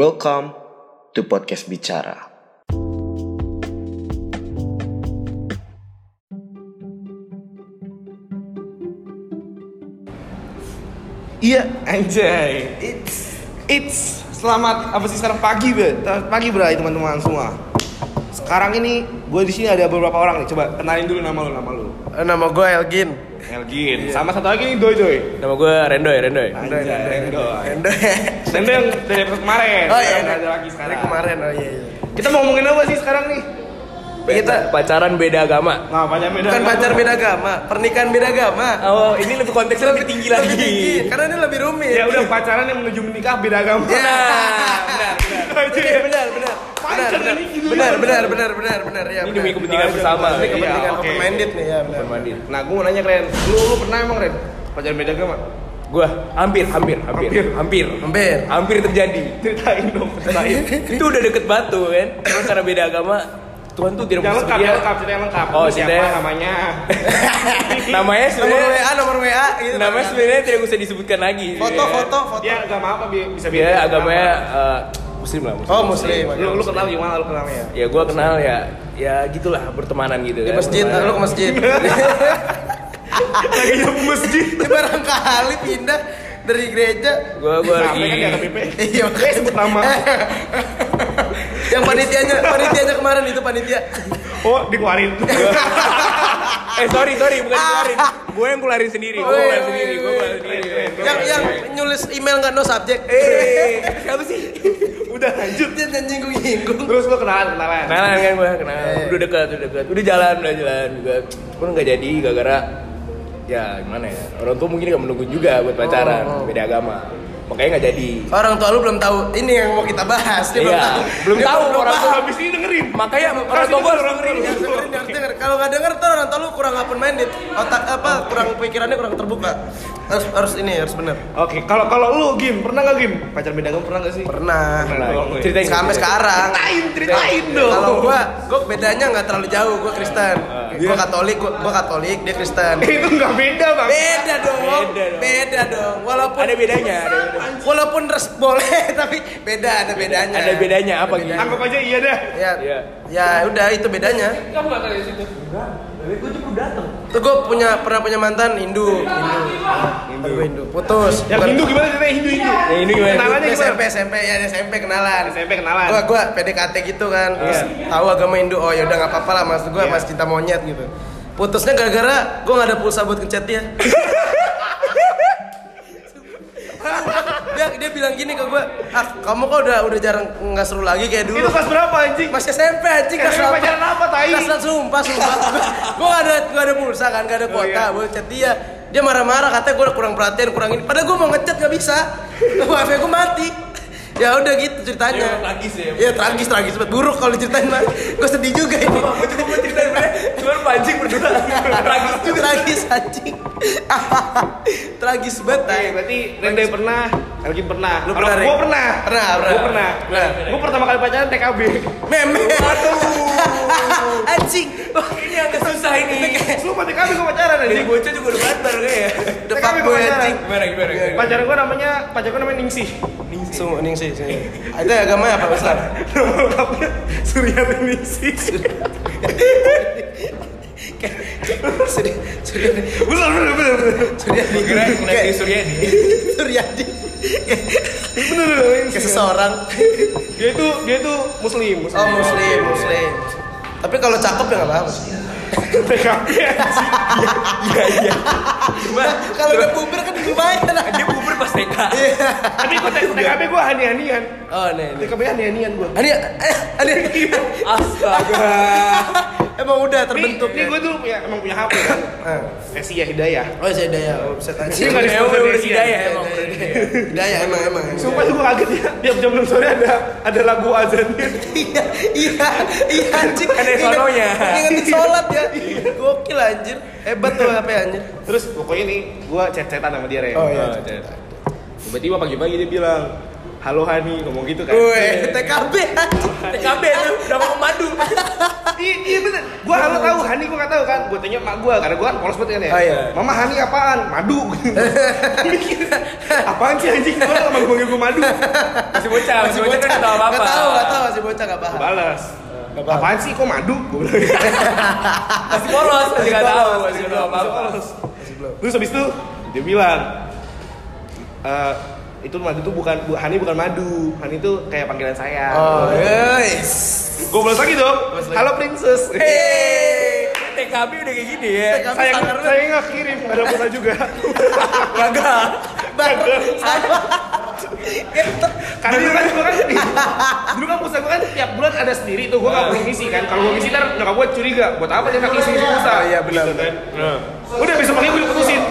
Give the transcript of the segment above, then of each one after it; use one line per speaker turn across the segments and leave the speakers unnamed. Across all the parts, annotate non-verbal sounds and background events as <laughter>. Welcome to Podcast Bicara.
Iya, anjay. It's it's selamat apa sih sekarang pagi, Be? Selamat pagi, Bray, teman-teman semua. Sekarang ini gue di sini ada beberapa orang nih. Coba kenalin dulu nama lu, nama lu.
Eh, Nama gue Elgin.
Elgin. Sama satu lagi nih Doi Doi.
Nama gue Rendoy, Rendoy.
Anjay, Rendoy.
Rendoy. <laughs>
Rendoy yang dari episode kemarin.
Oh iya,
Sekarang
iya.
ada lagi sekarang.
Ini kemarin oh iya. iya.
Kita mau ngomongin apa sih sekarang nih?
Kita pacaran beda agama.
Nah, pacar beda.
Bukan pacar beda agama, pernikahan beda agama.
Oh, ini lebih konteksnya lebih tinggi
Lebih tinggi, karena ini lebih rumit.
Ya udah pacaran yang menuju menikah beda agama.
Ya, benar,
Anjay.
benar, benar, benar, benar,
Pacar
benar,
ini gila.
benar, benar, benar, benar, benar, ya.
Ini
benar.
demi kepentingan bersama.
Ini
Iya,
kepentingan
oke.
open minded nih ya, benar.
Nah, gue mau nanya keren. Lu, lu pernah emang Ren? Pacaran beda agama?
Gua hampir, hampir, hampir,
Hampir.
hampir, hampir,
Hampir.
terjadi.
Ceritain dong. Ceritain.
Itu udah deket batu kan? Cuma karena beda agama, Tuhan tuh tidak
Yang lengkap,
bersedia.
yang lengkap, cerita yang lengkap.
Oh,
Lu siapa
ceritanya-
namanya?
<laughs> Namanya
Nomor
sebenarnya,
WA, nomor WA gitu.
namanya sebenarnya tidak usah disebutkan lagi.
Foto, foto, foto.
Dia agama apa Bi? bisa beda?
Dia agamanya eh, Muslim lah. Muslim.
Oh, muslim.
Lu, lu kenal gimana lu kenalnya?
Ya gua kenal ya, ya gitulah pertemanan gitu.
Di
kan.
masjid,
Pertemanan.
lu ke
<laughs>
masjid.
Lagi nyapu masjid.
Ini <laughs> barangkali pindah dari gereja.
Gua gua
Rame kan
lagi.
di atas PP.
Iya,
Eh, sebut
<laughs>
nama.
yang panitianya, panitianya kemarin itu panitia.
Oh,
<laughs>
dikeluarin.
Eh sorry sorry bukan
Ah.
keluarin. Gua yang keluarin sendiri.
Oh, iya,
Gua
Woi,
keluarin
woi,
sendiri. Gua keluarin
woi.
sendiri.
yang yang nyulis email nggak no subject
Eh siapa sih?
Udah lanjut.
dia dan nyinggung nyinggung
Terus lu kenalan, kenalan.
kenalan kan gue kenal udah dekat udah dekat udah jalan udah jalan juga pun nggak jadi gara-gara ya gimana ya orang tua mungkin nggak menunggu juga buat pacaran beda agama makanya nggak jadi
orang tua lu belum tahu ini yang mau kita bahas dia
Iya,
belum tahu
belum
Dia
tahu
belum
orang
paham.
tua.
Habis ini dengerin.
makanya orang tua gue orang
Yang dengerin, yang denger. kalau nggak denger tuh orang tua lu kurang open minded otak apa kurang pikirannya kurang terbuka harus harus ini harus bener
Oke, kalau kalau lu game pernah nggak game? Pacar beda agama pernah nggak sih?
pernah
Nah, ceritain
sampai sekarang Eh,
Ceritain, ceritain dong.
kalau gua gua bedanya nggak terlalu jauh gua Kristen
Ah,
gua
iya.
Katolik gua, gua Katolik dia Kristen
itu nggak beda bang.
beda dong
Beda dong.
beda dong walaupun
ada bedanya ada bedanya.
Walaupun res boleh <laughs> tapi beda ada bedanya.
ada bedanya apa gitu
Anggap aja iya dah.
Ya,
Iya.
ya udah itu bedanya.
Kamu nggak tahu di situ.
Tuh gue punya pernah punya mantan Hindu. Hindu. Aku Hindu. Putus.
Yang Hindu gimana ceritanya Hindu Hindu?
Yang Hindu gimana?
Kenalannya
Dia
gimana?
SMP SMP ya dia SMP kenalan.
SMP kenalan. Iya.
Gua gua PDKT gitu kan. Terus tahu agama Hindu. Oh ya udah nggak apa-apa lah maksud gua masih cinta monyet gitu. Putusnya gara-gara gua nggak ada pulsa buat
<laughs>
ngechat dia. dia dia bilang gini ke gua, "Ah, kamu kok udah udah jarang nggak seru lagi kayak dulu."
Itu kan kelas berapa anjing?
Masih SMP anjing kelas
SMP pacaran apa, tai?
Kelas delapan, sumpah
<laughs>
sumpah. gua gak ada gak ada pulsa kan, gak ada
Oh,
kuota,
iya.
gua chat dia. Dia marah-marah katanya gua kurang perhatian, kurang ini. Padahal gua mau ngechat gak bisa. <laughs> HP gua mati. <laughs> Ya udah gitu ceritanya.
Ya, tragis ya.
Iya tragis tragis banget. Buruk kalau diceritain mah. Gua sedih juga ini.
cuma pancing berdua
<laughs>
tragis juga
tragis anjing. <laughs> tragis banget.
Oke,
tai.
Iya, berarti Rende pernah, Elgin pernah.
Lu
Kalau
pernah, Rik?
Gua pernah.
Pernah, pernah.
Gua pernah.
Pernah.
Gua pertama kali pacaran TKB. <laughs>
Meme. <laughs> anjing.
ini agak susah ini
Eh, Lu TKB gua pacaran
jadi
anjing.
bocah juga udah batal ya. kayak
The
TKB
fuck
gua
boy
pacaran.
anjing.
gimana gimana gimana?
Pacar gua namanya, pacar gua namanya Ningsih.
Sungguh ning sih. sih. Itu agamanya apa
<laughs>
Islam?
Nama lengkapnya Suryati Ningsih.
Sedih, sedih.
Bener bener bener bener.
Suryadi
kira nanti Suryadi
Suryadi
Bener bener.
Kayak
Ningsih.
seseorang
Dia itu dia itu muslim, muslim.
Oh
<laughs>
muslim, muslim Tapi kalau cakep ya gak apa-apa
TKB. anjing.
Iya,
Nah, Kalau udah puber kan lumayan lah
dia puber pas TK
Iya
Tapi gua TKB gua hani-hanian.
Oh nih nih
TKB hani-hanian gua.
Ani, eh, Ani
astaga
<laughs> Emang
Ini,
udah terbentuk
ini
ya
gua tuh punya, emang punya HP kan.
Eh.
Esia Hidayah.
Oh saya daya, bisa tanya
Dia nggak di-
Emang bener-bener
Iya,
hidayah
Daya,
emang
daya, daya. Daya emang emang
Sumpah tuh gue kaget ya, tiap jam 6 sore ada ada lagu azannya
Iya, iya, iya anjing
Kan ada
Ingat-
sononya.
Ingetin sholat ya Gokil anjir Hebat tuh HP anjir
Terus pokoknya nih, gue chat-chatan sama dia Ren
Oh, iya.
Oh,
Tiba-tiba pagi-pagi dia bilang halo Hani ngomong gitu kan
Weh, TKB anjing.
TKB tuh udah mau madu.
iya iya bener gua halo tahu Hani gua nggak tahu kan gua tanya emak gua karena gua kan polos banget kan ya
Ah, iya.
mama Hani apaan madu
<laughs>
Mikir, apaan sih anjing gua sama gua manggil gua madu
Masih bocah, masih bocah kan nggak tahu apa-apa.
Nggak tahu, nggak tahu masih bocah nggak paham.
Gua balas apaan sih kok madu gua bilang gitu.
Masih polos, masih nggak tahu, masih belum apa-apa.
Terus- Terus habis itu dia bilang "Eh, itu madu tuh bukan bu, Hani bukan madu, Hani itu kayak panggilan saya.
Oh, guys.
Gue balas lagi dong.
Balas lagi.
Halo princess.
TKB udah kayak gini ya.
TKB
saya
standar lu.
saya nggak kirim, nggak ada pulsa juga.
Gagal.
Karena dulu kan gue kan dulu kan pulsa gue kan tiap bulan ada sendiri tuh gue nggak boleh ngisi kan. Kalau gue ngisi ntar nyokap gue curiga. Buat apa dia nggak ngisi ngisi pulsa?
Oh, iya, benar.
Gitu kan. Nah. Udah besok pagi gue diputusin.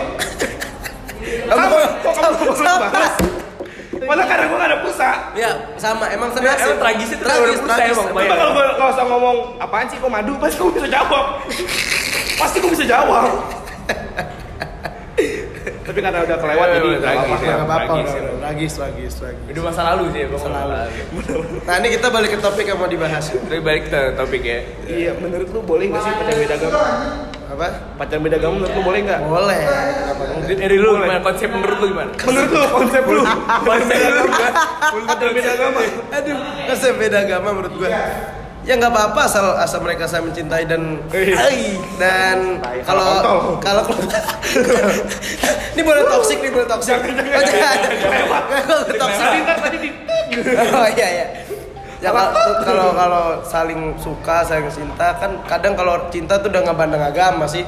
Kamu kok kamu nggak boleh
sama.
balas? Padahal karena gue nggak ada pulsa.
Ya, sama. Emang
Emang
sama.
tragisnya tuh udah pulsa emang,
Coba kalau gue kalau usah ngomong apaan sih kok madu, pasti gue bisa jawab. pasti gue bisa jawab. Tapi karena udah kelewat
Iya,
jadi
iya,
nggak
tragis,
apa-apa.
iya.
Enggak apa-apa,
Tragis,
udah, tragis, ya. tragis, tragis.
Udah masa lalu sih, masa lalu.
Nah, ini kita balik ke topik yang mau dibahas.
Tapi balik ke topik ya.
Iya, menurut lu boleh nggak sih pacaran beda agama?
Apa?
Pacaran beda agama menurut lu boleh nggak?
Boleh. Kenapa enggak?
Dari lu gimana konsep menurut lu gimana?
Menurut lu konsep lu
Konsep lu gimana?
pacaran beda agama?
Aduh, konsep beda agama menurut gua. Ya nggak apa-apa asal asal mereka saya mencintai dan
Iya.
Ai. dan kalau kalau <laughs> ini boleh toksik nih boleh toksik. Oh, jangan. Nggak, kalau toksik
Tapi ntar kan tadi di
oh iya iya ya kalau kalau kalau saling suka saling cinta kan kadang kalau cinta tuh udah nggak pandang agama sih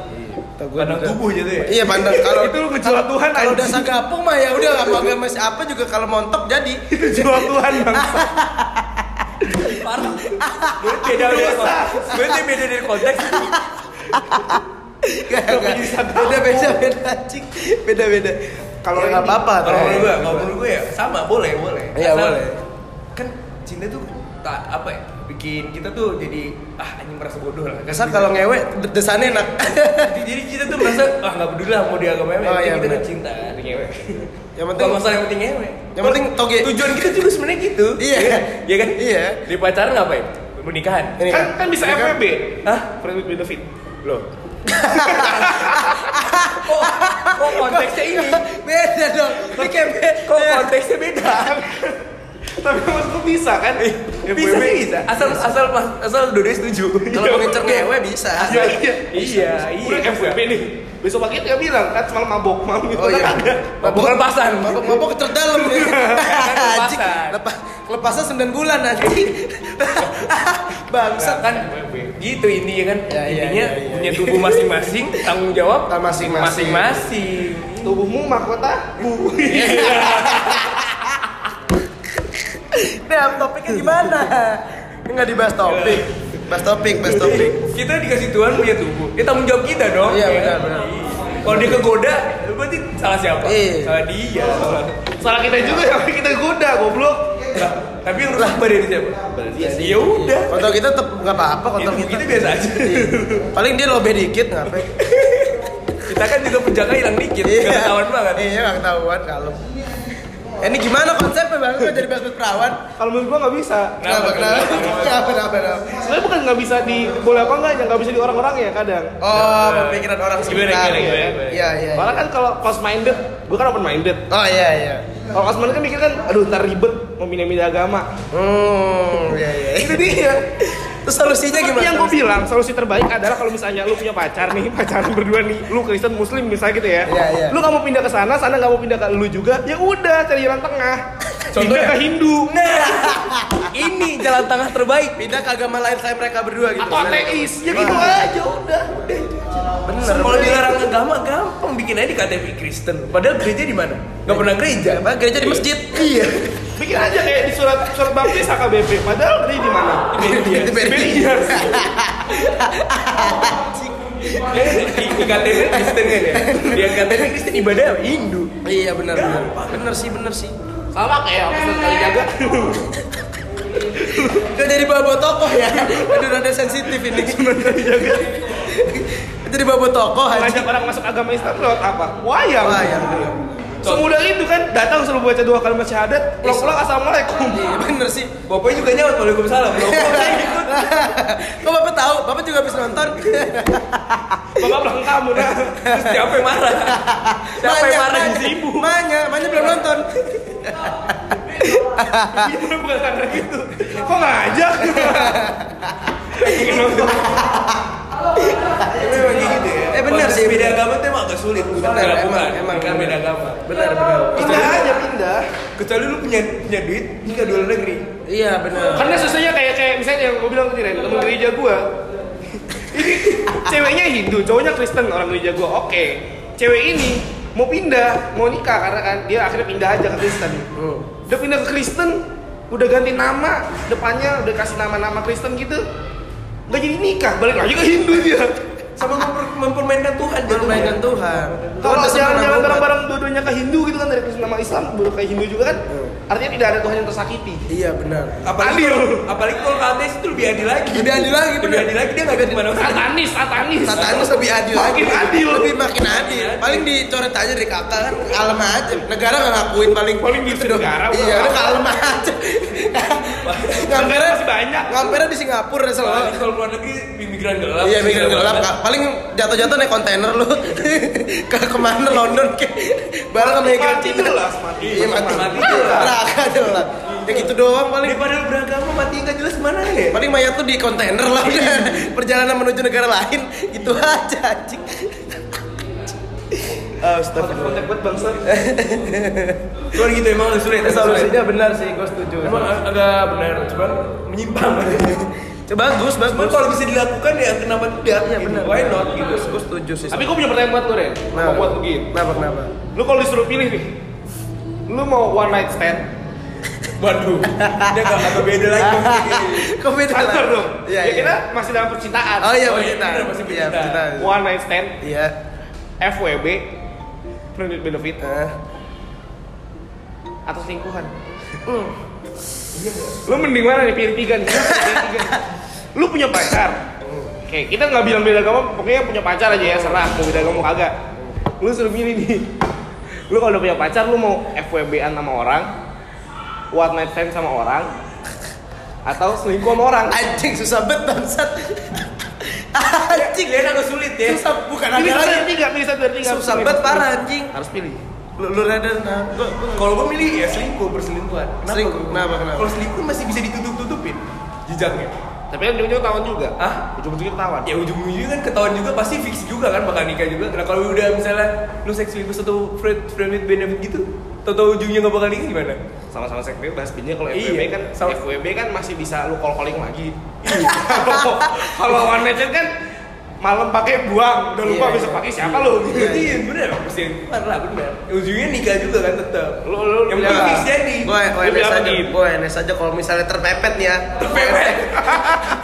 Tuh, gua
Pandang
juga-
tubuh jadi ya?
iya pandang kalau
Itu lu ngejual Tuhan,
kalau udah
anjing.
sagapung mah ya udah nggak mau agama siapa juga kalau montok
<laughs>
jadi
jual Tuhan bang.
Parah. Gue beda dari konteks. Gue beda dari konteks.
Nggak, nggak. beda beda beda anjing beda beda kalau
Ya,
nggak apa-apa
Kalau
tuh.
menurut gue, kalau menurut gue ya sama, boleh, boleh.
Eh, Iya,
Asal
boleh.
Kan cinta tuh tak apa ya? Bikin kita tuh jadi ah anjing merasa bodoh lah.
Asal kalau ngewe desannya enak <laughs>
jadi, <laughs> jadi kita tuh merasa ah nggak peduli lah mau dia agama apa.
Oh, iya,
Yang kita
benar.
tuh cinta kan ngewe.
yang penting
Gak masalah yang penting ya, ngewe.
yang penting toge
Tujuan kita juga sebenarnya gitu.
Iya.
Iya kan?
Iya.
Di pacaran ngapain? Pernikahan.
Ini
Kan kan bisa
Ini kan-
FWB.
Hah?
Friend with benefit.
Loh. <laughs> kok, kok konteksnya ini?
beda dong ini kayak
Kok
beda
konteksnya beda?
Tapi maksud lu bisa kan?
Iya.
Eh, Bisa sih bisa. Asal asal asal dua-duanya setuju.
kalau mau ngincer ngewe bisa
Iya iya.
Iya, iya.
Udah FWB nih. Besok pagi dia bilang kan semalam mabok malam gitu
Oh
kan
iya.
kagak.
Mabuk lepasan.
Mabok mabok ke terdalam <laughs> ya. Anjing.
Kelepasan.
Lepas lepasnya 9 bulan anjing. <laughs> Bangsat.
kan gitu intinya kan
Ya, iya,
intinya
iya, iya.
punya tubuh
<laughs>
masing-masing tanggung jawab
Ah, masing-masing.
masing-masing
Tubuhmu mahkota bu.
Nah, topiknya gimana? Enggak dibahas topik. Bahas topik, bahas topik.
kita dikasih Tuhan punya tubuh ya tanggung jawab kita dong
Iya,
ya
benar,
kan?
benar.
kalau dia kegoda berarti salah siapa
Iya.
salah dia salah
Salah kita juga yang <laughs> kita goda goblok.
Lah, tapi yang rusak badan siapa ya udah
Kontol kita tetap enggak apa-apa kontol
Itu-
kita.
itu biasa aja.
Iya. Paling dia lobe dikit ngapain?
kita kan juga penjaga hilang dikit gak ketahuan banget
Iya, enggak ketahuan kalau. Eh, ini gimana konsepnya Bang? Kok jadi bahas perawan?
Kalau menurut gua nggak bisa. Nah,
Kenapa? Kenapa? Kenapa? Kenapa? kenapa?
Sebenarnya bukan nggak bisa di boleh apa enggak, nggak bisa di orang-orang ya kadang.
Oh, pemikiran orang sekitar.
Iya. gimana,
Iya,
gimana?
iya. iya.
Malah kan kalau close minded, gua kan open minded.
Oh iya iya.
Kalau close minded kan mikir kan, aduh ntar ribet mau pindah-pindah agama.
Hmm, iya iya.
Itu dia.
Terus solusinya
Seperti
gimana? <laughs>
yang gue bilang, solusi terbaik adalah kalau misalnya lu punya pacar nih, <laughs> pacaran berdua nih, lu Kristen Muslim misalnya gitu ya.
Iya, iya.
Lu nggak mau pindah ke sana, sana nggak mau pindah ke lu juga, ya udah cari jalan tengah. pindah
ya?
Contohnya?
ke Hindu.
ini jalan tengah terbaik
pindah ke agama lain selain mereka berdua gitu.
Atau ateis, ya gitu aja udah.
Bener.
kalau dilarang agama gampang bikin aja di KTP Kristen padahal gereja di mana nggak pernah gereja
Apa gereja di masjid? Iya. <laughs>
Bikin aja kayak di surat surat baptis HKBP, padahal dia di mana?
Di Berias.
Belias.
Ya, di, di KTP Kristen kan ya di KTP Kristen ibadah Hindu
Iya bener bener. Bener sih bener sih.
Sama kayak pesan kali jaga.
Kok jadi bawa tokoh ya? Aduh rada sensitif ini. jadi bawa tokoh aja.
Ngajak orang masuk agama Islam lewat apa? Wayang.
Wah, ya. yang bener.
Semudah itu kan datang suruh baca dua kalimat syahadat, pulang-pulang assalamualaikum.
Iya bener sih.
Bapaknya juga nyaut Waalaikumsalam bro.
gitu?
Kok bapak tahu? Bapak juga habis nonton.
Bapak pulang kamu <laughs> nah.
Terus siapa yang marah? Siapa yang marah di sini?
ibu?
Manya, Manya belum nonton.
Gimana bukan karena gitu? Kok <laughs> ngajak? gitu.
gitu ya.
Eh bener sih.
Beda agama itu emang agak sulit. Bukan,
Bener,
bukan.
emang, emang.
Bukan beda agama.
Bener bener.
Pindah aja pindah.
Kecuali lu punya punya duit, nikah di luar negeri.
Iya bener.
Karena susahnya kayak kayak misalnya yang gue bilang tadi Ren, temen gereja gue Ini ceweknya Hindu, cowoknya Kristen orang gereja gue, oke Cewek ini mau pindah, mau nikah karena kan dia akhirnya pindah aja ke Kristen
Oh.
Udah pindah ke Kristen, udah ganti nama, depannya udah kasih nama-nama Kristen gitu Gak jadi nikah, balik lagi ke Hindu dia
Sama memper- mempermainkan Tuhan.
Belum mainkan Tuhan. Tuhan
Kalau
pasti
jalan-jalan
menang obat.
bareng-bareng dua-duanya ke Hindu gitu kan dari Kristen sama Islam, baru ke Hindu juga kan
Hmm.
Artinya tidak ada Tuhan yang tersakiti
Iya bener.
Apalagi
Adil.
kalau- apalagi kalau ke ateis itu lebih adil lagi.
Lebih adil lagi,
Lebih
bener.
adil lagi dia nggak ada di mana-mana.
Satanis, satanis
Satanus lebih adil
Makin adil.
Lebih makin adil. Paling dicoret aja dari kakak kan kalem aja. Negara nggak ngakuin paling.
Paling gitu negara,
Iya,
udah.
udah kalem aja.
Anggaran masih banyak
Ngampirnya di Singapura ya selalu.
Apalagi kalau luar negeri imigran gelap.
Iya mikir gelap kak. Paling jatuh-jatuh naik kontainer lu <laughs> ke kemana London ke barang sama imigran
Mati
Cina.
jelas, mati.
Iya mati.
Mati jelas.
Neraka jelas. Ya gitu doang paling.
Daripada lu beragama mati nggak jelas mana ya.
Paling mayat tuh di kontainer lah <laughs> udah. Perjalanan menuju negara lain gitu aja anjing. Astagfirullah.
kontak buat bangsa
Cuman gitu emang agak sulit. agak sulit.
Solusinya benar sih, gue setuju.
Emang ag- agak benar, cuman menyimpang.
<laughs> Coba bagus,
Cuman
bagus.
kalau bisa dilakukan ya kenapa tidak?
Iya
gitu.
benar.
Why not gitu?
Gue setuju sih.
tapi gue punya pertanyaan buat lu Ren
Nah.
mau buat begini
Kenapa kenapa?
lu kalau disuruh pilih nih lu mau one night stand
Waduh, dia nggak agak beda lagi.
Kok beda lah?
Santer dong ya
Iya, iya.
kita masih dalam percintaan
Oh iya,
Oh, iya,
bercinta.
benar, masih
Iya,
bercinta.
bercinta.
one night stand
Iya.
FWB friendly benefit
Eh.
atau selingkuhan
Hmm.
Iya, lu mending mana nih pilih tiga nih Lu pilih tiga.
<laughs>
lu punya pacar Oke, kita nggak bilang beda agama, pokoknya punya pacar aja ya, serah mau beda agama mau kagak. Lu suruh pilih nih. Lu kalau udah punya pacar, lu mau FWB-an sama orang, one night stand sama orang, atau selingkuh sama orang.
Anjing susah banget bangsat. Anjing
Dia agak sulit ya.
susah bukan ada
Pilih satu
lagi.
dari tiga, pilih satu dari tiga.
Susah
Pilih
banget
satu dari
parah
tiga.
anjing.
Harus pilih.
Lu lu rada nah.
Kalau gue milih ya selingkuh berselingkuhan. Kenapa
Selingkuh,
gua?
kenapa, kenapa?
Kalau selingkuh masih bisa ditutup-tutupin jejaknya.
Tapi kan ujung-ujungnya ketahuan juga.
Hah?
Ujung-ujungnya ketahuan.
Ya ujung-ujungnya kan ketahuan juga pasti fix juga kan bakal nikah juga. Nah kalau udah misalnya lu seks selingkuh satu friend friend with benefit gitu, tau-tau ujungnya nggak bakal nikah gimana?
Sama-sama seks bebas, pinnya kalau
Iya,
FWB kan
sama-
FWB kan masih bisa lu call-calling lagi. Kalau- <laughs> Kalau one night stand kan malam pakai buang, udah lupa
Iya,
besok pakai siapa lu gitu.
Iya bener, pasti parah bener. Ujungnya nikah juga kan tetap.
Lu lu
Yang
pilih
penting
apa?
fix jadi.
Gue
Lu
NS
bilang
aja.
begini.
Gue NS aja kalau misalnya terpepet nih ya. <laughs>
Terpepet.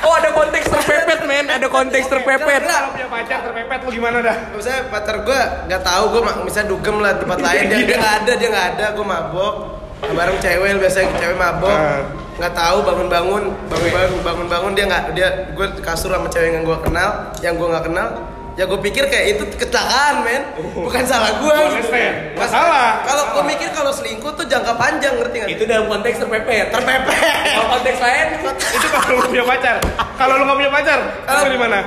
Oh ada konteks terpepet men, ada konteks terpepet.
Kalau lu punya pacar terpepet lu gimana dah? <laughs>
Misalnya pacar gue nggak tahu gue misalnya dugem lah
<laughs>
tempat
Iya,
lain dia dia nggak ada dia nggak ada gue mabok bareng cewek biasanya cewek mabok
Ah.
nggak tahu bangun bangun bangun bangun bangun bangun dia nggak dia gue kasur sama cewek yang gue kenal yang gue nggak kenal ya gue pikir kayak itu kecelakaan men bukan salah gue
Bukan stand. Oh. Nggak salah.
kalau gue mikir kalau selingkuh tuh jangka panjang ngerti nggak
Itu dalam konteks terpepet.
terpepet
Kalau konteks lain
Itu kalau lu punya pacar. Kalau lu nggak punya pacar,
Kalau-
lu di mana?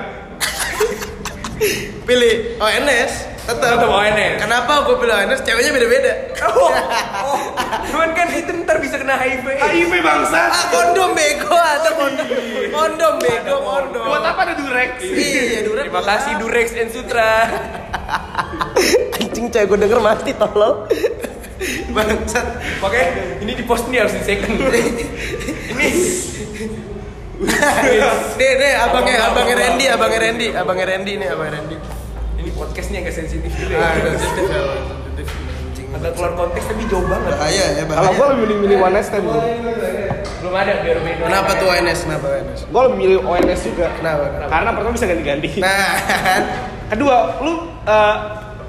pilih ONS tetap
Tetap ONS.
kenapa gue pilih ONS ceweknya beda beda
Oh, oh. Cuman kan itu ntar bisa kena HIV.
HIV bangsa.
ah kondom bego ada kondom kondom bego kondom
Buat apa ada durex?
Iya, Durex.
Terima kasih Durex and Sutra.
Anjing cewek gue denger mati tolong. Bangsat.
Oke, ini di post nih harus di second. ini
Deh, deh, abangnya, abangnya Randy, abangnya Randy, abangnya Randy nih, abangnya Randy.
ini podcastnya agak sensitif gitu
Ah,
ya.
sensitif ya,
Agak keluar konteks tapi jauh banget.
Bahaya ya,
Kalau
bahaya.
gua lebih milih one night stand bro.
Belum ada biar beda.
Kenapa tuh ONS? Kenapa ONS?
Gua lebih milih ONS juga. Nah,
Kenapa? kenapa?
Karena pertama bisa ganti-ganti.
Nah, <laughs> kan.
Kedua, lu eh,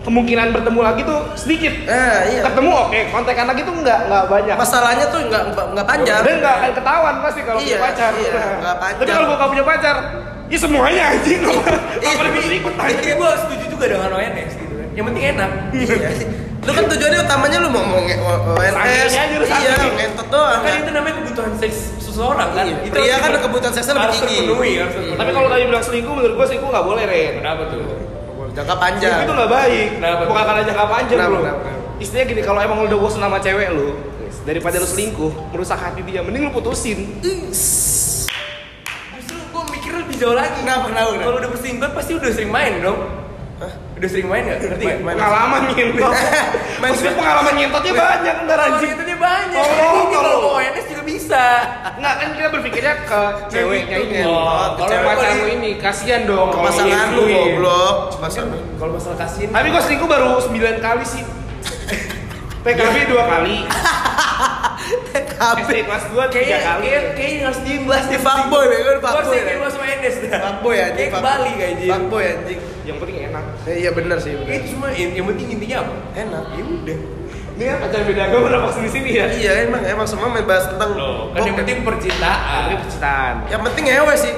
kemungkinan bertemu lagi tuh sedikit.
Nah, iya.
Ketemu oke, kontekan lagi tuh nggak nggak banyak.
Masalahnya tuh nggak nggak- nggak panjang.
Dan nggak akan ketahuan pasti kalau
Iya,
punya pacar. <laughs>
iya, nggak Iya. panjang.
Tapi kalau gua nggak punya pacar, ya semuanya anjing. <laughs> Apa lebih ikut
Iya,
Tapi gue setuju juga dengan ONS gitu kan. Yang penting enak.
Iya. Lu kan tujuannya utamanya lu mau mau nge- mau- mau NS.
Sakitnya aja lu
Iya,
sakit.
ngentot doang.
kan itu namanya kebutuhan seks seseorang kan
Iya,
Itu
pria
harus
kan
diper-
kebutuhan seksnya lebih
harus
tinggi.
terpenuhi, Iya, harus terpenuhi.
Tapi kalau tadi bilang selingkuh menurut gua selingkuh nggak boleh Ren.
Iya.
kenapa tuh
Jangka panjang.
Selingkuh itu nggak baik. Nah,
Kenapa?
Bukan karena jangka panjang
Kenapa,
bro.
kenapa, kenapa?
Istilahnya gini kalau emang lu udah bosan sama cewek lu daripada lu selingkuh merusak hati dia mending lu putusin.
Iya.
justru gue mikir lebih jauh lagi
Kenapa, kenapa, kenapa?
kalau udah berselingkuh pasti udah sering main dong udah sering main nggak ngerti nggak?
Main-
Pengalaman
<laughs>
nyentot.
Iya. Main-
Maksudnya pengalaman
Iya.
nyentotnya banyak ntar
Kalau
anjing.
itu dia banyak.
Tolong,
Ini kalau
tolong.
mau ONS juga bisa.
Nggak kan kita berpikirnya ke ceweknya ini.
Oh,
Kalau
cewek
pacar
kali.
lu ini kasihan dong. kalau
Pasangan
Oh, iya,
lu
diselingkuhin.
goblok. Pasangan.
Kalau masalah kasihin,
Tapi gua selingkuh baru 9 kali <laughs> sih. Iya. PKB 2 <laughs> kali,
PKB.
SD kelas 2
kayaknya
3 kali.
kayaknya kayaknya harus diimbas
Di fuckboy, bego, di
Gua
fuckboy.
sih kayak lu sama Enes dah.
Fuckboy anjing.
Kayak ke
fuck-
Bali kayak gitu.
Fuckboy anjing.
Yang penting enak.
Eh, Iya benar sih. benar.
Itu cuma yang, yang penting intinya apa?
Enak.
Ya udah.
Ini kan pacar beda agama udah maksud di sini ya.
Iya emang emang semua main bahas tentang
Kan yang penting percintaan.
Ini percintaan.
yang penting ngewe
<laughs>
sih.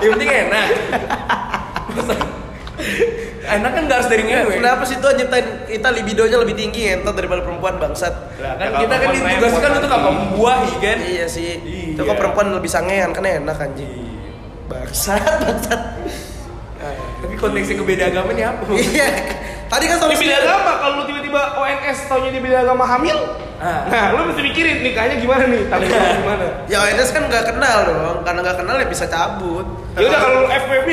yang penting enak. Masa- enak kan nggak harus dari ngewe.
Kenapa sih tuh nyiptain kita libidonya lebih tinggi ngentot daripada perempuan bangsat?
Lah,
Ya,
kan
kalau
kita kan
perempuan
ditugaskan
repot
untuk apa? Membuahi kan?
Iya sih. Itu
Iya.
kok perempuan lebih sangean kan enak anjing. Bangsat, bangsat.
Tapi konteksnya ke beda agama ini apa?
Iya. Tadi kan
Di
solusi
beda agama kalau lu tiba-tiba ONS taunya di beda agama hamil.
Ah.
Nah, lu mesti mikirin nikahnya gimana nih?
<laughs>
Tanggung jawab gimana?
Ya ONS kan nggak kenal dong, karena nggak kenal ya bisa cabut.
Ya udah kalau lu
<laughs>
FWB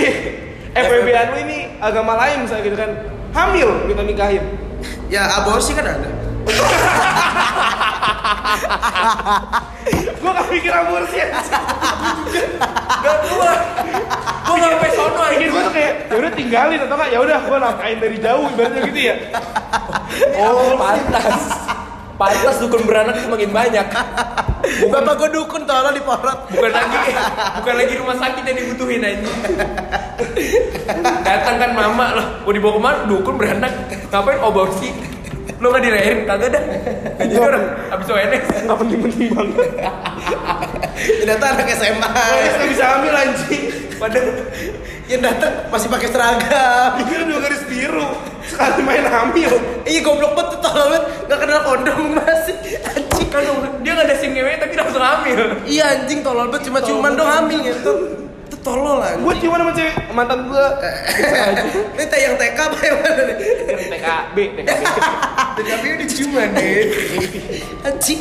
FWB anu ini agama lain misalnya gitu kan. Hamil kita nikahin.
Ya aborsi kan ada.
Gua gak pikir aborsi.
Gak keluar. Gua nggak sampai sono
Pikir
akhirnya.
gua tuh kayak ya udah tinggalin atau enggak ya udah gua nafkain dari jauh ibaratnya gitu ya.
Oh, pantas. Pantas dukun beranak makin banyak.
Bapak gue dukun tolong diporot.
Bukan lagi bukan lagi rumah sakit yang dibutuhin aja. Datang kan mama loh, mau dibawa kemana? Dukun beranak. Ngapain aborsi? Lo nggak dilahirin kagak dah. Nggak Jadi orang abis ONS.
Enggak penting-penting banget.
Yang datang anak SMA.
ONS enggak bisa hamil anjing.
Padahal
<laughs> Yang datang masih pakai seragam.
Pikir dua garis biru. Sekali main hamil.
Iya goblok banget tuh tolol banget. Nggak kenal kondom <laughs> masih. Anjing.
kan dia nggak ada SIM ngewe tapi langsung hamil.
Iya anjing tolol banget cuma cuman dong hamil gitu. Itu tolol anjing.
Gua ciuman sama cewek mantan
<laughs>
gua.
Ini teh yang TK apa yang mana nih?
TKB, TKB.
Tapi udah cuma deh.
ya. Anjing.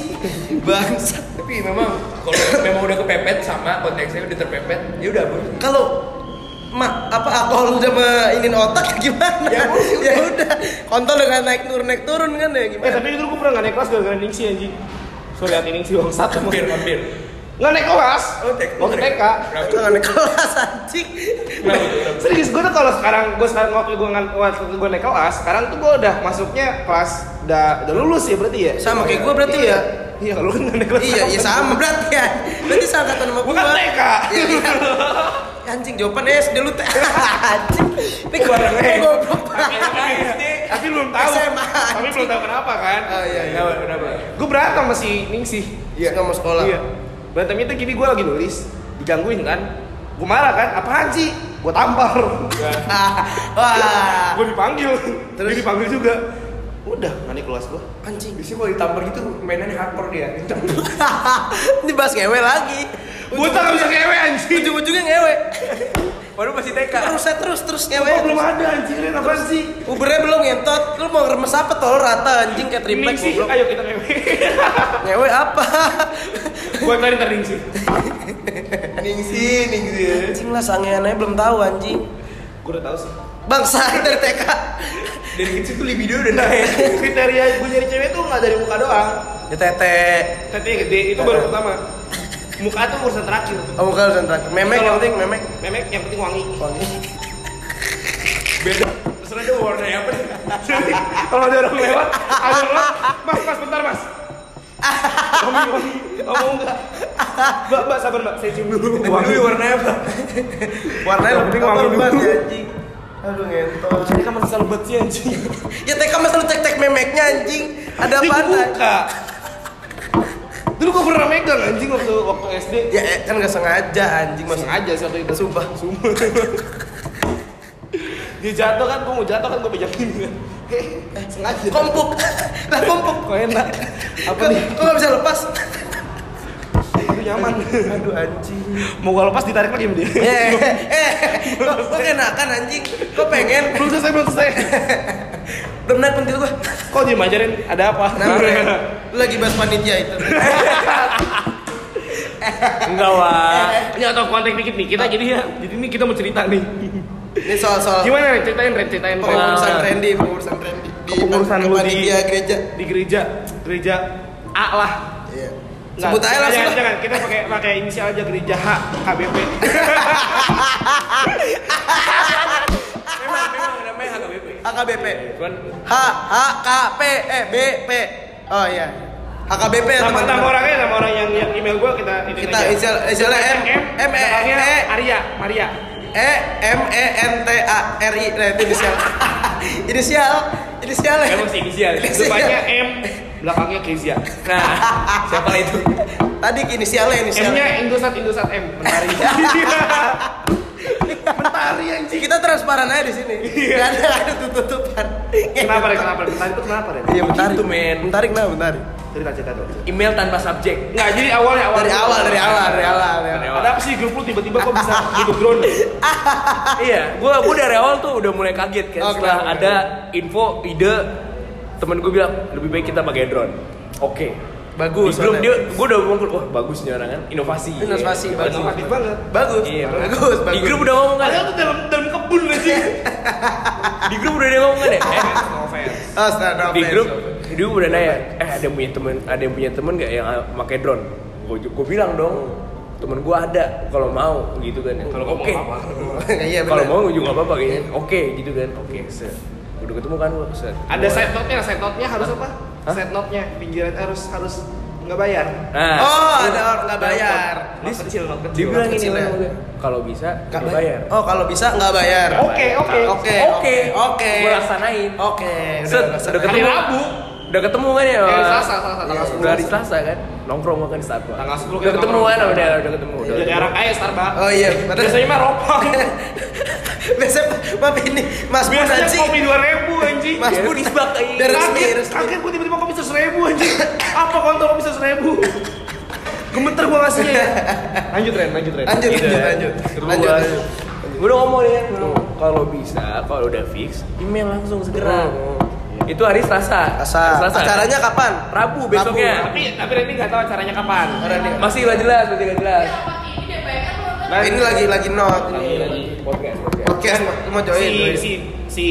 Bangsat.
Tapi memang kalau memang udah kepepet sama konteksnya udah terpepet, ya udah aborsi.
Kalau Ma, apa alkohol udah mainin otak gimana? Ya, udah, kontol dengan naik turun naik turun kan ya
Eh
gimana?
tapi itu gua pernah gak naik kelas gara-gara ningsi anjing. Soalnya lihat ningsi bang satu.
Hampir, hampir.
Gak naik kelas.
Oh, TK.
Waktu TK.
Berapa?
Itu nggak naik kelas anjing.
Kenapa tuh? Kenapa?
Serius gua tuh kalau sekarang gua sekarang waktu gua ngan- waktu gua naik kelas, sekarang tuh gua udah masuknya kelas udah udah lulus ya berarti ya.
Sama kayak gua berarti
Iya.
ya.
Iya, kalau kan naik kelas.
Iya, iya sama berarti ya. Berarti sama kata nama
Gua
gua.
kan TK.
Iya, iya.
<laughs>
Anjing jawaban SD lu teh. <laughs> Anjing. Ini gua
Bareng,
gua
eh.
goblok.
Tapi belum tahu.
SMA,
Tapi belum tahu kenapa kan.
Ah iya iya.
Kenapa? Kenapa?
Gue berantem sama si Ningsih.
Iya, nggak mau sekolah.
Iya. Berantemnya tuh gini gue lagi nulis, digangguin kan. Gue marah kan, apaan sih? Gue tampar.
Ah, Wah.
gue dipanggil. Terus
Ah. Terus?
Dia dipanggil juga. Udah, nggak naik kelas gue.
Anjing.
Biasanya kalau ditampar gitu mainannya hardcore dia.
Ini bahas ngewe lagi.
Gue tak bisa ngewe anjing.
Ujung-ujungnya ngewe.
Baru masih TK.
Terus terus terus ngewe.
Gue belum ada anjing, Ren apaan sih?
Ubernya belum ngentot. Lu mau remes apa tol rata anjing kayak triplek
Ningsih,
goblok.
ayo kita ngewe. <laughs>
Ngewe apa?
gue cari ntar Ningsih.
Ningsi, ningsi.
Anjing lah sangeannya belum tahu anjing.
Gue udah tau sih.
Bangsa <laughs> dari TK.
Dari kecil tuh libido udah naik.
Kriteria gue nyari cewek tuh nggak dari muka doang.
<laughs> Ya tete.
Tetenya gede, itu baru pertama. Muka tuh urusan terakhir.
Oh bukan urusan terakhir. Memek yang penting memek.
Memek yang penting wangi.
Beda. Terserah dia warna apa deh.
Jadi kalau ada orang lewat, ada orang lewat, mas, mas, bentar mas. Ngomong, ngomong, ngomong enggak. Mbak, mbak, sabar mbak, saya cium dulu.
Tapi
Wangi.
warna apa?
Warnanya
Yang penting wangi
lebat
dulu.
ya, anjing. Aduh ngentot.
Jadi kamu selalu bet sih anjing.
<laughs> Ya TK masa lu cek-cek memeknya anjing. Ada
Ini
apa
gua buka. Dulu gua pernah megang anjing waktu waktu SD.
Ya eh, kan nggak sengaja anjing
Masuk
<laughs> maksudnya.
aja sih waktu itu.
Sumpah.
Sumpah. dia jatuh kan gue mau jatuh kan gue pegang
<laughs>
gini kan Eh, eh, sengaja
Kompuk. Lah kompuk.
kok enak apa
Kok
nih
kok nggak bisa lepas?
itu
<laughs>
nyaman aduh anjing mau gue lepas ditarik lagi sama dia
Eh, eh, kok kok enakan anjing? Kok pengen?
belum selesai belum selesai
Belum naik pentil gua.
kok dia ajarin ada apa
Nampret. Lu lagi bahas panitia itu.
Enggak,
Eh,
Wak.
Ini atau kontak dikit-dikit aja jadi ya. Jadi ini kita mau cerita nih.
Ini soal-soal
Gimana nih ceritain Ren, ceritain
pengurusan
pengalaman.
Randy, pengurusan Randy di
pengurusan lu di
panitia gereja.
di gereja gereja A lah
Iya.
Nggak,
Sebut aja
Nah, jangan,
langsung. lah.
jangan kita pakai pakai inisial aja gereja H KBP
Memang memang namanya HKBP.
AKBP.
Cuman
H H K P E B P. Oh iya. AKBP
nama
ya
nama
teman-teman.
orangnya nama orang yang yang email gue kita ituin
Kita
aja.
inisial inisialnya M M E
belakangnya
E
Arya
<laughs>
Maria
E M E N T A R I. Nah, itu inisial. <laughs> inisial, inisial. ya.
emang sih inisial.
depannya
<laughs>
M belakangnya Kezia
Nah, siapa itu?
Tadi
M
inisialnya
nya
<laughs> inisialnya.
Indosat Indosat M
<laughs>
menari
Mentari anjing. Kita transparan aja di sini. Gak ada gak ada tutup-tutupan.
kenapa Ren kenapa Ren? mentari itu kenapa Ren
Iya, mentari.
Gitu, men.
Mentari kenapa mentari?
cerita cerita dong
Email tanpa subjek.
nggak jadi awalnya awal
Dari awal, dari awal, dari awal. dari awal.
ada apa sih grup lu tiba-tiba kok
<laughs>
bisa gitu drone
iya, gua gua dari awal tuh udah mulai kaget kan
Oh,
setelah
kenapa?
ada info ide temen gua bilang lebih baik kita pakai drone. Oke.
Bagus, soalnya.
Belum dia gua udah ngomong wah bagus nih orang kan inovasi.
Inovasi,
Iya,
bagus.
aktif banget
Bagus,
Iya,
bagus, bagus.
Di grup udah ngomong kan?
padahal tuh dalam dalam kebun
<laughs>
sih
Di grup udah dia ngomong kan ya? Eh,
Oh, stand up.
di grup dia udah nanya eh ada yang punya temen ada yang punya temen gak yang uh, pakai drone gue bilang dong temen gue ada kalau mau gitu kan ya kalau oke
<laughs> Iya,
kalau
benar.
mau juga apa apa kayaknya oke gitu kan oke set udah ketemu kan gue set
ada side note nya side note nya harus apa side note nya pinggiran harus harus nggak bayar
nah
Oh, ada orang nggak bayar.
Not kecil not
dia
kecil
bilang ini
kecil ya.
Bang, gue, kalau bisa
Nggak
nggak bayar
Oh, kalau bisa nggak bayar.
oke oke
Oke,
oke
oke.
gue laksanain
Oke.
set
udah, Iya,
udah
hari
ketemu
Rabu
udah ketemu kan ya
Eh, Selasa, Selasa, tanggal
Iya,
10.
udah hari Selasa kan nongkrong makan di Starbucks
Tanggal 10
udah
kita
ketemu
nongkrong. Iya,
kan udah udah ketemu udah
udah
ketemu.
jarang aja Starbucks
iya. Oh iya, bener.
biasanya mah ropang
<laughs> Biasanya Mas ini Mas Bun
biasanya
anjing.
kopi dua ribu anjing
Mas
Biar
Bun
feedback, iya.
Biar resmi,
kaget
resmi.
kaget gue tiba-tiba kopi seratus ribu anjing apa kontol kopi seratus ribu gemeter gue ngasihnya ya lanjut Ren lanjut Ren
Lanjut,
Gitu.
lanjut, lanjut.
Kedua,
Lanjut.
Gue udah ngomong nih kan, kalau bisa, kalau udah fix, email langsung segera. Itu hari Selasa. Hari
Asa,
Selasa.
acaranya kapan?
Rabu besoknya.
tapi tapi Ren ini nggak tahu acaranya kapan
Rabu.
Masih nggak jelas, masih nggak jelas. Iya,
Nah, ini lagi lagi not ini.
Podcast, podcast.
Oke, mau- mau join.
si
join.
si si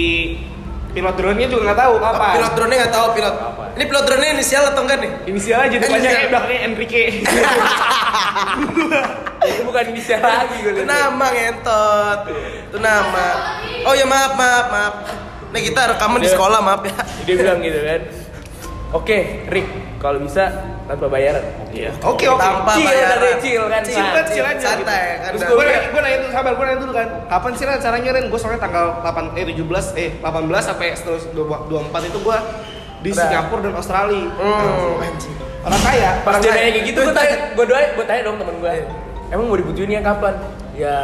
pilot drone nya juga nggak tahu kapan
Pilot drone nggak tahu pilot. Ini pilot drone inisial atau enggak nih?
inisial
Eh,
aja depannya
iya.
E belakangnya Enrique
Itu bukan inisial lagi gue
Itu nama ngentot. Itu nama. Oh ya maaf maaf maaf. Nah kita rekaman
Iya.
di sekolah maaf ya.
Dia bilang gitu kan. Oke, Rick, kalau bisa tanpa bayaran. Iya.
oke oke
Tanpa
Chill,
bayaran.
udah chill kan,
Chill kan, chill aja.
Santai kan.
Terus gue nanya, gue nanya dulu, sabar, gue nanya dulu kan Kapan sih Ren acaranya Ren? Gue soalnya tanggal 8, eh 17, eh 18 sampai seterus 24 itu gue di
Udah.
Singapura dan Australia
Hmm, anjing.
Orang kaya
Pas dia
Orang
nanya
lain.
kayak gitu, gue tanya, gue doain, gue tanya dong temen gue.
Iya.
Emang mau dibutuhin yang kapan? Ya,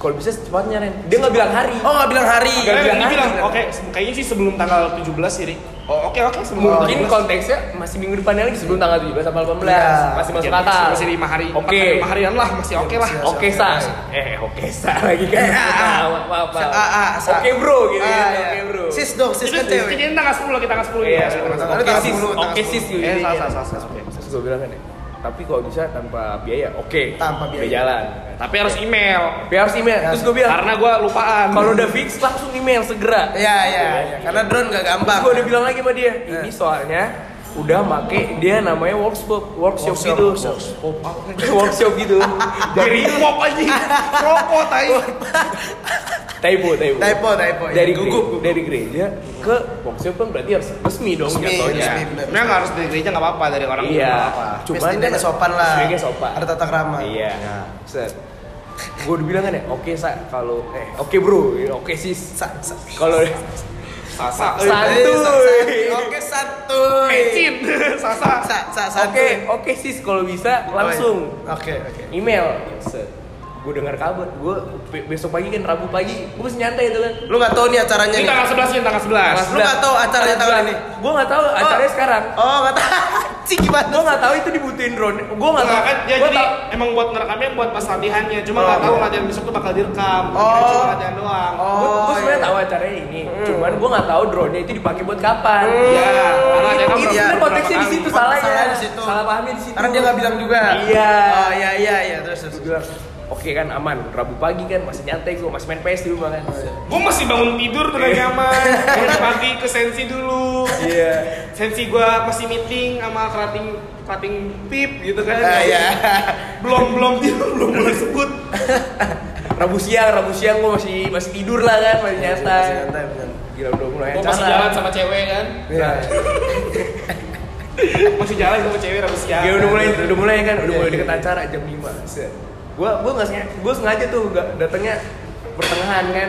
kalau bisa secepatnya Ren. Dia nggak bilang hari.
Oh nggak bilang hari.
Nggak
Akhirnya
bilang
dia
aja,
bilang,
Ren.
oke kayaknya sih sebelum tanggal 17 sih Rik Oh oke oke sebelum tanggal
Mungkin
17.
konteksnya masih minggu depannya lagi sebelum tanggal 17 sampai 18.
Iya.
Masih masuk
Ya,
akal.
Masih 5 hari, empat
Oke.
hari, lima harian lah, masih oke lah
Oke, Sa. Eh, oke, Sa lagi
Iya.
kan.
Eh, ah, ah.
Maaf, maaf, maaf.
Ah, ah, Sa.
Oke, Bro, gitu.
Ah,
gitu.
iya.
Oke, Bro.
Sis dong, sis
Itu
kan cewek.
kejadian tanggal 10 lagi tanggal 10
Iya,
ya tanggal
tanggal
Oke,
tanggal
sis.
10,
Oke,
tanggal
sis. gitu.
10. Eh salah salah
Terus
salah, salah oke.
gue bilang kan ya. Tapi kalau bisa tanpa biaya, oke.
Tanpa biaya. Iya.
jalan.
Tapi harus email
Tapi harus email. Terus gue bilang,
Karena gue lupaan
kalau udah fix langsung email segera.
Iya iya. iya. Karena drone nggak gampang.
gue udah bilang lagi sama dia ini soalnya udah make dia namanya workshop
Workshop,
workshop, gitu
workshop.
<laughs> workshop gitu dari
Ripok aja Rokok tai
Taibo Taibo
Typo typo. iya.
dari
gugup.
gugup dari gereja ke workshop kan berarti harus resmi dong
Resmi, Iya.
jatuhnya
resmi. bener.
Sebenernya nggak harus dari gereja nggak apa-apa dari orang
iya
nggak apa-apa.
cuman
Mesti ada sopan lah.
sebagai sopan
Ada tata krama.
iya set gue udah bilang kan ya oke sa kalau eh oke bro oke sis
Sa, sa.
kalau
Sasa
Sa- Santuy.
Sa- sa- Oke santuy.
Pecin Sasa
Sa, sa,
oke
santuy.
oke sis kalau bisa langsung
Oke oke.
email set gue dengar kabar gue be- besok pagi kan rabu pagi gue masih nyantai itu kan
Lu nggak tahu nih acaranya
Ini
nih.
tanggal 11 nih, tanggal 11.
Lu nggak tahu acaranya tahun ini?
gue nggak tahu acaranya sekarang
Oh, nggak tahu. <laughs> Cik gimana?
gue nggak tahu itu dibutuhin drone gue
Nah,
nggak tahu
Enggak kan, ya
Gua
jadi
tahu-
emang buat ngerekamnya buat pas latihannya Cuma nggak tahu latihan besok tuh bakal direkam Kira-kira
Oh.
cuma latihan doang
Gue
Oh, Hmm.
sebenarnya tahu acaranya ini, cuman gue nggak tahu drone-nya itu dipakai buat kapan.
Iya, karena dia
Itu-
kan
itu
berapa-
sebenarnya konteksnya di
berapa
situ
kali.
salahnya.
Salahnya di situ.
Salah pahamnya di situ.
Karena dia nggak bilang juga.
Iya.
Oh, iya iya iya terus terus.
Gua bilang, Oke kan aman, Rabu pagi kan masih nyantai gue, masih main PS di rumah kan.
Gue masih bangun tidur tuh gak nyaman Bangun pagi ke sensi dulu
Iya.
Sensi gua masih meeting sama kerating kerating pip gitu kan
Ah, iya.
Belum, belum, belum boleh sebut
Rabu siang, Rabu siang gue masih masih tidur lah kan, masih nyantai.
Masih nyantai, bener.
Gila udah mulai
Gua masih
acara.
jalan sama cewek kan
Iya.
Masih jalan sama cewek rabu
Iya,
siang
Gila udah mulai, udah mulai kan, udah mulai deket acara jam 5 Set. Gua gua nggak sengaja, gua sengaja tuh nggak datangnya pertengahan kan.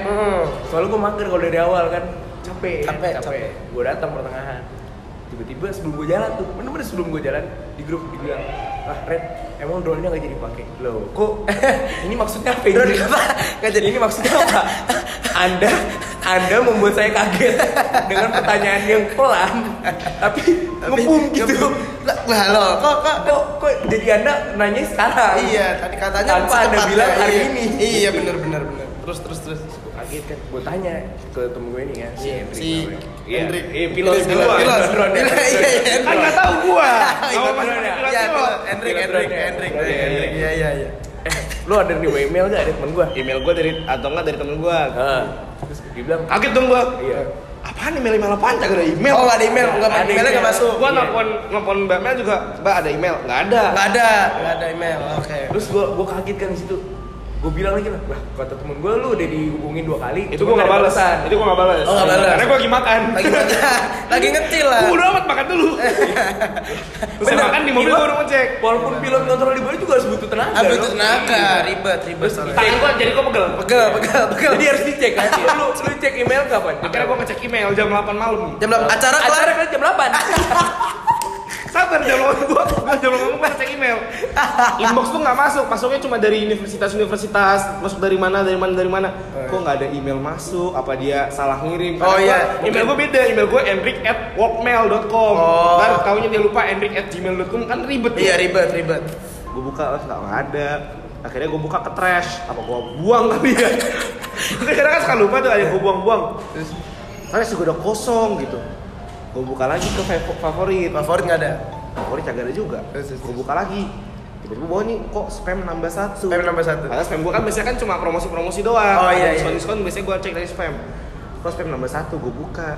Soalnya gua mager kalau dari awal kan
Hmm.
capek,
Capek, capek.
Gua datang pertengahan. Tiba-tiba sebelum gua jalan tuh, bener-bener sebelum gua jalan di grup dibilang, "Ah, Red, emang drone-nya nggak jadi pakai." Loh,
<laughs>
kok ini maksudnya apa?
Drone apa? Nggak jadi.
Ini maksudnya
<laughs>
apa? Anda anda membuat saya kaget dengan pertanyaan yang pelan,
<laughs>
tapi,
Tapi-
ngebum gitu.
Lah, Lah, lo kok kok
Kok, kok jadi anda nanya sekarang?
Iya, tadi katanya
Tanpa
pas
ada
tepatnya.
bilang hari
Iya.
ini.
Iya, benar benar benar. Terus terus terus.
Kaget kan, gue tanya ke temen gue ini ya, si Hendrik.
Si
Iya,
Hendrik.
iya, pilot,
Pilot,
pilot,
pilot.
pilot, drone,
Iya,
drone,
iya, iya.
drone.
Kan nggak tahu
<laughs>
gua
Iya,
Sama masih
bener ya.
kelas
Iya,
doang.
betul. Hendrik Hendrik Hendrik
Iya,
Hendrik. Iya iya iya.
Eh, lu ada nih email gak ada temen gue?
email gue dari atau enggak dari temen gue
Heeh. Terus dia bilang,
Kaget dong gua
iya.
Apaan email email apaan gak ada email
Oh, nggak ada email, nggak
Ada
emailnya nggak
email.
masuk.
Gua
Iya.
nelfon nelfon Mbak Mel juga Mbak ada email nggak ada
Nggak ada, nggak ada email. Oke.
Terus gue gue kaget kan di situ. Gue bilang lagi lah, wah kata temen gue lu udah dihubungin dua kali.
Itu
Nah, cuma
gua nggak
ada
balas
balasan."
Itu gua nggak balas
Oh, nggak balas.
Karena gua lagi makan
Lagi
<laughs>
makan, lagi ngecil lah.
Udah amat makan dulu Terus saya
Bener.
makan di mobil
Gila.
baru ngecek
Walaupun pilot kontrol di balik juga Iya. harus butuh tenaga.
Aduh
dong.
tenaga, ribet ribet.
Iya.
Tangan gua jadi gua pegel
Pegel pegel pegel.
Jadi harus dicek kan. Lu lu cek email kapan?
Akhirnya gua ngecek email jam 8 malam
Jam berapa? Acara kelar.
Acara kan jam 8.
Sabar jam 8 gua gua jam 8 gua ngecek email Inbox tuh nggak masuk Masuknya cuma dari universitas-universitas Masuk dari mana, dari mana, dari mana Kok nggak ada email masuk? Apa dia salah ngirim? Karena
Eh. Oh, iya.
gua- Email gua beda Email gua enrik at workmail.com
Oh.
Ntar taunya dia lupa enrik at gmail.com Kan ribet tuh.
Iya ribet ribet.
gue buka oh, nggak ada akhirnya gue buka ke trash apa gue buang kali ya <laughs> Tapi kadang kan suka lupa tuh ada gue buang-buang terus trash juga udah kosong gitu gue buka lagi ke fav- favorit
Favorit nggak ada.
favorit kagak ada juga
Terus, terus,
gue buka lagi tiba-tiba bawah nih kok spam nambah satu
Spam nambah satu.
karena spam gue kan biasanya kan cuma promosi-promosi doang
Oh, iya, iya.
diskon-diskon biasanya gue cek dari spam kok spam nambah satu gue buka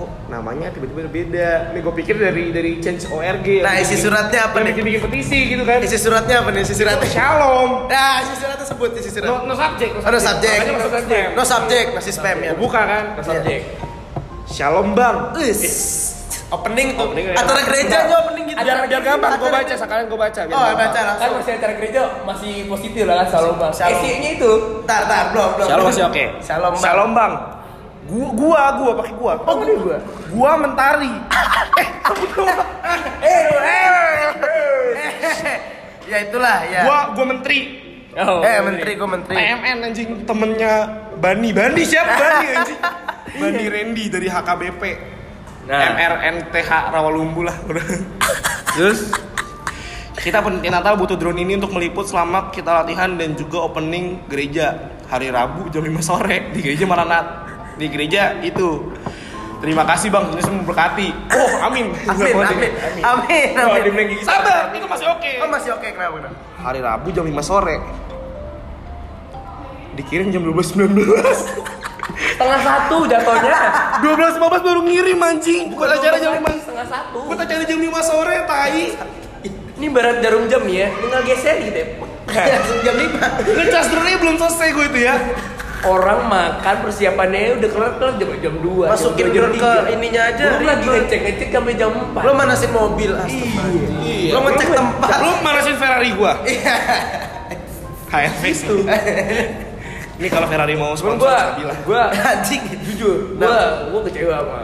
kok namanya tiba-tiba beda nih gue pikir dari dari change org
Nah, isi suratnya apa nih?
bikin bikin petisi gitu kan Oh,
Isi suratnya apa nih? Isi suratnya.
Shalom.
Nah, isi suratnya sebut
No,
isi surat.
no subject.
Oh, no subject.
Makanya masuk spam.
No subject, masih spam ya.
Gua Buka kan.
Ke subjek.
Shalom bang.
Is. Opening tuh.
Opening ya.
Acara gerejanya opening gitu.
Biar biar gampang. Gue
Acara-
baca sekalian gue baca. biar
Oh,
gampang.
baca
Kan
langsung.
masih acara gereja masih positif lah kan selalu bang.
Shalom.
SI-nya itu.
Tar, tar, belum, belum.
Shalom masih oke.
Shalom, Bang.
Shalom bang. Gua, gua, gua pakai gua. Oh, gua, gua. Gua mentari. Eh, gua,
Eh, eh, eh. Ya itulah ya.
gua, gua menteri.
Oh,
eh, menteri gua menteri.
PMN anjing temennya Bani. Bani siapa Bani anjing? Bani Randy dari HKBP.
Nah.
MRNTH Rawalumbu lah <laughs> udah.
Terus
Kita peneliti Natal butuh drone ini untuk meliput selama kita latihan dan juga opening gereja hari Rabu jam 5 sore di gereja Maranat di gereja itu. Terima kasih bang, ini semua berkati. Oh, amin.
Amin, amin. Amin,
kalau
amin.
dibilang gigi
Sabar, itu masih oke.
Oh, masih oke kenapa? kenapa?
Hari Rabu jam 5 sore. Dikirim jam 12.19.
setengah satu
<laughs>
jatuhnya.
12.15 baru ngirim anjing. Bukan acara jam 5.
setengah satu.
Bukan acara jam 5 sore, tai.
Ini barat jarum jam nih ya. Lu nggak geser gitu
<laughs>
ya.
Jam 5.
Ngecas drone-nya belum selesai gue itu ya.
Orang makan persiapannya udah kelar kelar jam jam dua. jam
Masukin
dua, jam
drone
tiga.
ke ininya aja,
Lu lagi
ribet.
ngecek ngecek sampai jam empat.
Lu manasin mobil, astagfirullah.
Iya.
Lu ngecek tempat.
Lu manasin Ferrari gua. HRV itu. Ini kalau Ferrari mau
Cuman
sponsor
gua,
<laughs>
saya bilang.
gua
Anjing.
jujur, gua gua kecewa sama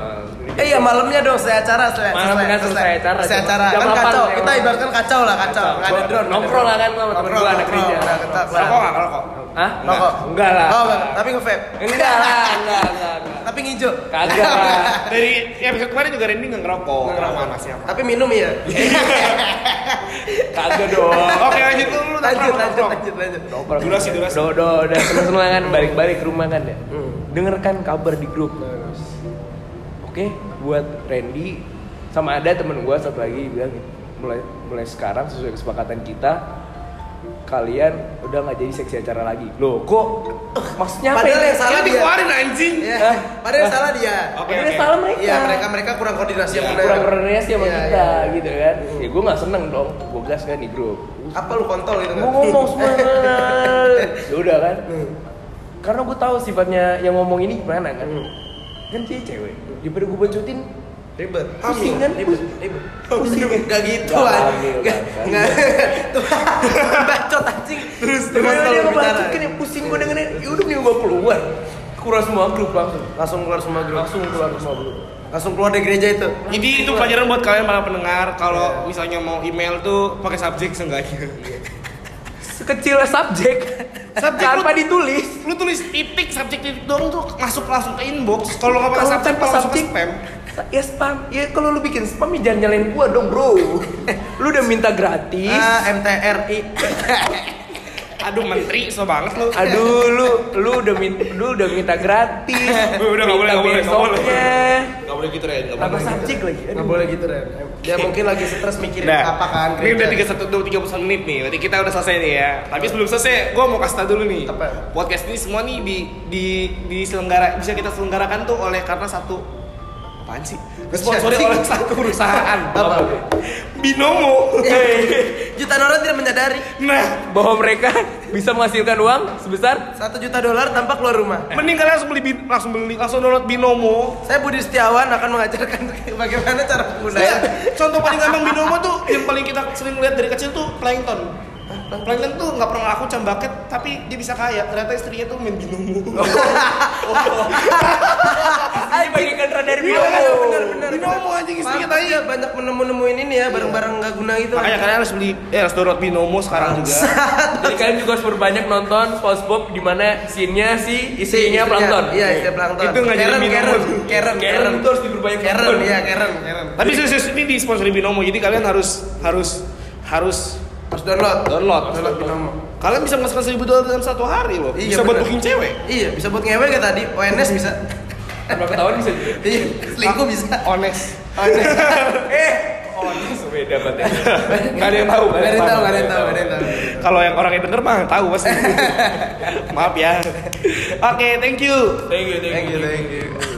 Eh iya malamnya dong selesai acara selesai
Malam kan selesai acara,
Selesai
coba.
acara.
Jam
Kan
8,
kacau.
ya,
Kita
malam.
ibaratkan kacau lah kacau. Nggak ada drone.
Nongkrong lah kan lu sama temen gua anak
nongkrong,
kerja.
nggak ketat lah.
Rokok nggak rokok?
Hah?
Rokok.
Enggak lah.
Nah, Oh, enggak. tapi nge-vape.
Enggak lah, enggak, enggak, enggak.
Tapi ngijau.
Kagak
<laughs>
lah.
Dari episode kemarin juga Randy nggak ngerokok. Nggak ngerokok panasnya.
Tapi minum
<laughs>
ya.
Kagak dong.
Oke lanjut dulu lu
Lanjut
nongkrong,
lanjut
nongkrong.
lanjut lanjut.
Nongkrong.
Durasi, durasi.
Oh,
Hmm.
Do do udah seneng-seneng kan balik-balik ke rumah kan ya. Dengarkan kabar di grup. Oke, buat Randy sama ada temen gua satu lagi bilang gitu, mulai mulai sekarang sesuai kesepakatan kita kalian udah nggak jadi seksi acara lagi. Loh, kok Eh, maksudnya apa?
Padahal
ini?
yang salah
Lu
dia.
dikeluarin anjing.
Iya.
Hah?
Padahal yang
Hah?
salah dia.
Oke,
Padahal
oke.
yang salah mereka.
Iya, mereka mereka kurang koordinasi yang benar.
Iya, kurang koordinasi sama
Iya,
kita
iya.
gitu kan. Ya gue nggak seneng dong, gue gas kan di grup.
Apa lu kontol gitu
Gue ngomong semuanya. ya <laughs> udah kan. Karena gue tahu sifatnya yang ngomong ini gimana kan. Kan dia cewek. Daripada gue bacotin
<laughs> Ribet.
Pusing kan?
Ribet.
Pusing.
Ribet.
Pusing.
Gak gitu
Gak
lah.
hamil,
Gak.
bangsa.
Gak. <laughs> Tuh, Bacot anjing. Terus
Terus dia
bicara.
ngebacotin ya pusing gue dengerin. Ya udah nih gue keluar. Kurang semua grup langsung.
Langsung keluar semua grup.
Langsung keluar semua grup.
Langsung keluar dari gereja itu.
Jadi itu pelajaran buat kalian para pendengar kalau misalnya mau email tuh pakai subjek seenggaknya.
Sekecil subjek.
Subjek lu-
Tanpa ditulis.
<laughs> Lu tulis titik subjek titik doang tuh masuk langsung ke inbox. Kalau nggak pakai
Kalau
subjek
tanpa
langsung ke
subjek-
spam.
Ya spam, ya kalau lu bikin spam ya jangan nyalain gua dong bro Lu udah minta gratis
Ah, MTRI.
Aduh menteri so banget lu.
Aduh, lu lu udah minta lu udah minta
<laughs>
gratis.
Udah nggak boleh nggak boleh
minta
nggak boleh.
besoknya.
Nggak boleh gitu ya.
Tambah subjek lagi. Aduh.
Gak boleh gitu deh. Dia mungkin lagi stres mikirin
Nah,
apa kan.
ini udah
gereja.
tiga satu dua tiga menit nih. Berarti kita udah selesai nih ya. Tapi sebelum selesai, gue mau kasih tau dulu nih.
Apa?
Podcast ini semua nih di di diselenggara bisa kita selenggarakan tuh oleh karena satu apaan sih? Disponsori oleh satu perusahaan.
<laughs> Apa? Iya.
Binomo.
<laughs> Jutaan orang tidak menyadari
<laughs> Nah,
Bahwa mereka <laughs> bisa menghasilkan uang sebesar
satu juta dolar tanpa keluar rumah.
mending kalian langsung beli bin- langsung beli langsung download Binomo.
Saya Budi Setiawan akan mengajarkan <laughs> bagaimana cara
Nah,
penggunaan
contoh paling gampang Binomo tuh yang paling kita sering lihat dari kecil tuh plankton. Plankton tuh nggak pernah laku cambaket, tapi dia bisa kaya. Ternyata istrinya tuh main Binomo.
ini bagikan dari
Iya,
binomo.
benar-benar.
Binomo anjing istrinya
Maaf,
tadi.
dia banyak menemu-nemuin ini ya barang-barang nggak guna gitu.
Makanya kalian harus beli eh harus download Binomo sekarang juga.
Jadi kalian juga harus berbanyak nonton SpongeBob di mana scene-nya
Si
si isinya plankton.
Iya, istilah plankton.
Itu nggak jadi
Karen,
minum.
Karen, Karen,
Karen itu harus diperbanyak
Karen,
nonton.
iya Karen, Karen.
Tapi serius ini disponsori Binomo, jadi kalian harus harus harus
Harus download.
download.
Download Binomo.
Kalian bisa menghasilkan seribu dolar dalam satu hari loh.
Iya,
bisa buat
bener.
booking cewek.
Iya, bisa buat ngewe gak tadi? ONS bisa.
Berapa tahun bisa juga.
Iya, selingkuh bisa.
Honest. <laughs>
ONS.
Beda banget. ya.
Gak Eh. ada yang tahu.
Gak ada yang tahu, gak ada yang tahu, gak ada yang tahu.
Kalau yang orang yang denger mah tahu <laughs> pasti. Maaf ya. Oke, thank you.
Thank you, thank
Thank you,
you.
thank you.